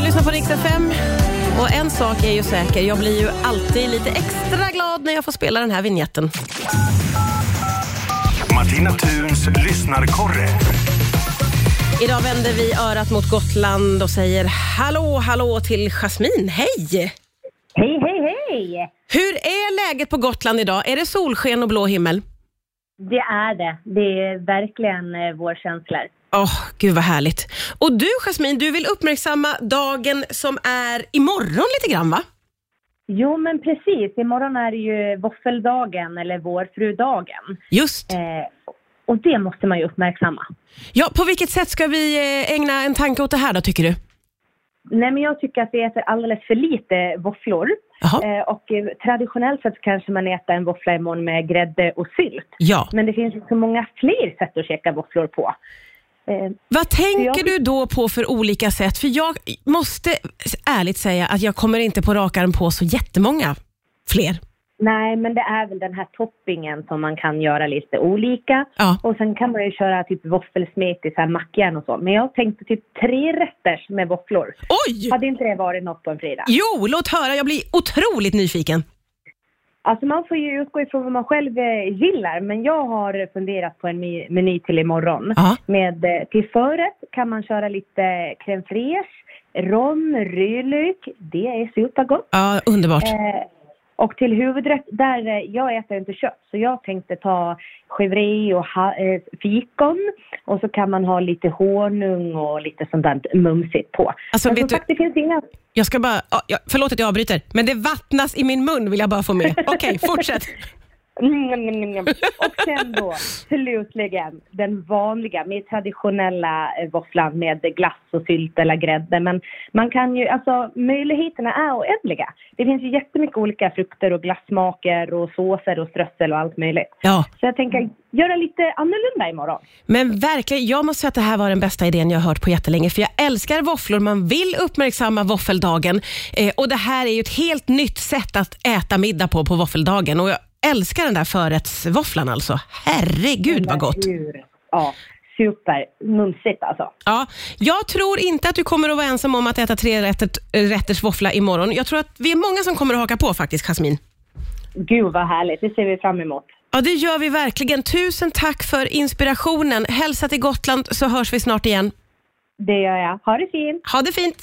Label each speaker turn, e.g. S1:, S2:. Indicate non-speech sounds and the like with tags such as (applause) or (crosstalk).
S1: Rix FM. Och en sak är ju säker, jag blir ju alltid lite extra glad när jag får spela den här vignetten.
S2: Martina Thuns lyssnarkorre.
S1: Idag vänder vi örat mot Gotland och säger hallå, hallå till Jasmine. Hej!
S3: Hej, hej, hej!
S1: Hur är läget på Gotland idag? Är det solsken och blå himmel?
S3: Det är det. Det är verkligen eh, vårkänslor.
S1: Åh, gud vad härligt. Och du Jasmine, du vill uppmärksamma dagen som är imorgon lite grann va?
S3: Jo, men precis. Imorgon är det ju våffeldagen eller vårfrudagen.
S1: Just.
S3: Eh, och det måste man ju uppmärksamma.
S1: Ja, på vilket sätt ska vi eh, ägna en tanke åt det här då tycker du?
S3: Nej, men jag tycker att vi äter alldeles för lite våfflor.
S1: Jaha.
S3: Eh, och eh, traditionellt sett kanske man äter en våffla imorgon med grädde och sylt.
S1: Ja.
S3: Men det finns ju så många fler sätt att käka våfflor på. Eh,
S1: Vad tänker
S3: Jag-
S1: du då på för olika sätt? För jag måste ärligt säga att jag kommer inte på rak arm på så jättemånga fler.
S3: Nej, men det är väl den här toppingen som man kan göra lite olika.
S1: Ja.
S3: Och sen kan man ju köra typ våffelsmet i så här mackjärn och så. Men jag tänkte typ tre rätter med våfflor.
S1: Oj!
S3: Hade inte det varit något på en fredag?
S1: Jo, låt höra. Jag blir otroligt nyfiken.
S3: Alltså man får ju utgå ifrån vad man själv eh, gillar. Men jag har funderat på en me- meny till imorgon.
S1: Ja.
S3: Med, eh, till förrätt kan man köra lite crème fraîche, rom, rylök. Det är supergott.
S1: Ja, underbart.
S3: Eh, och till huvudrätt, där eh, jag äter inte kött så jag tänkte ta chèvre och ha, eh, fikon och så kan man ha lite honung och lite sånt där mumsigt på.
S1: Alltså,
S3: Men
S1: vet
S3: som
S1: du-
S3: sagt, det finns inga...
S1: Jag ska bara, ja, ja, förlåt att jag avbryter, men det vattnas i min mun vill jag bara få med.
S3: (laughs)
S1: Okej, fortsätt.
S3: Mm, mm, mm, mm. Och sen
S1: (laughs)
S3: då slutligen den vanliga, mer traditionella eh, våfflan med glass och sylt eller grädde. Men man kan ju, alltså möjligheterna är oändliga. Det finns ju jättemycket olika frukter och glassmaker och såser och strössel och allt möjligt.
S1: Ja,
S3: Så jag tänker
S1: Mm.
S3: göra lite annorlunda imorgon.
S1: men verkligen, jag måste säga att det här var den bästa idén jag har hört på jättelänge, för jag älskar våfflor, man vill uppmärksamma våffeldagen eh, och det här är ju ett helt nytt sätt att äta middag på, på våffeldagen och jag älskar den där förrättsvåfflan alltså. Herregud vad gott.
S3: Eller hur? Ja, supermumsigt alltså.
S1: Ja, jag tror inte att du kommer att vara ensam om att äta tre rätter, rätters våffla imorgon. Jag tror att vi är många som kommer att haka på faktiskt, Jasmin.
S3: Gud vad härligt, det ser vi fram emot.
S1: Ja, det gör vi verkligen. Tusen tack för inspirationen. Hälsa till Gotland så hörs vi snart igen.
S3: Det gör jag. Ha det fint!
S1: Ha det fint!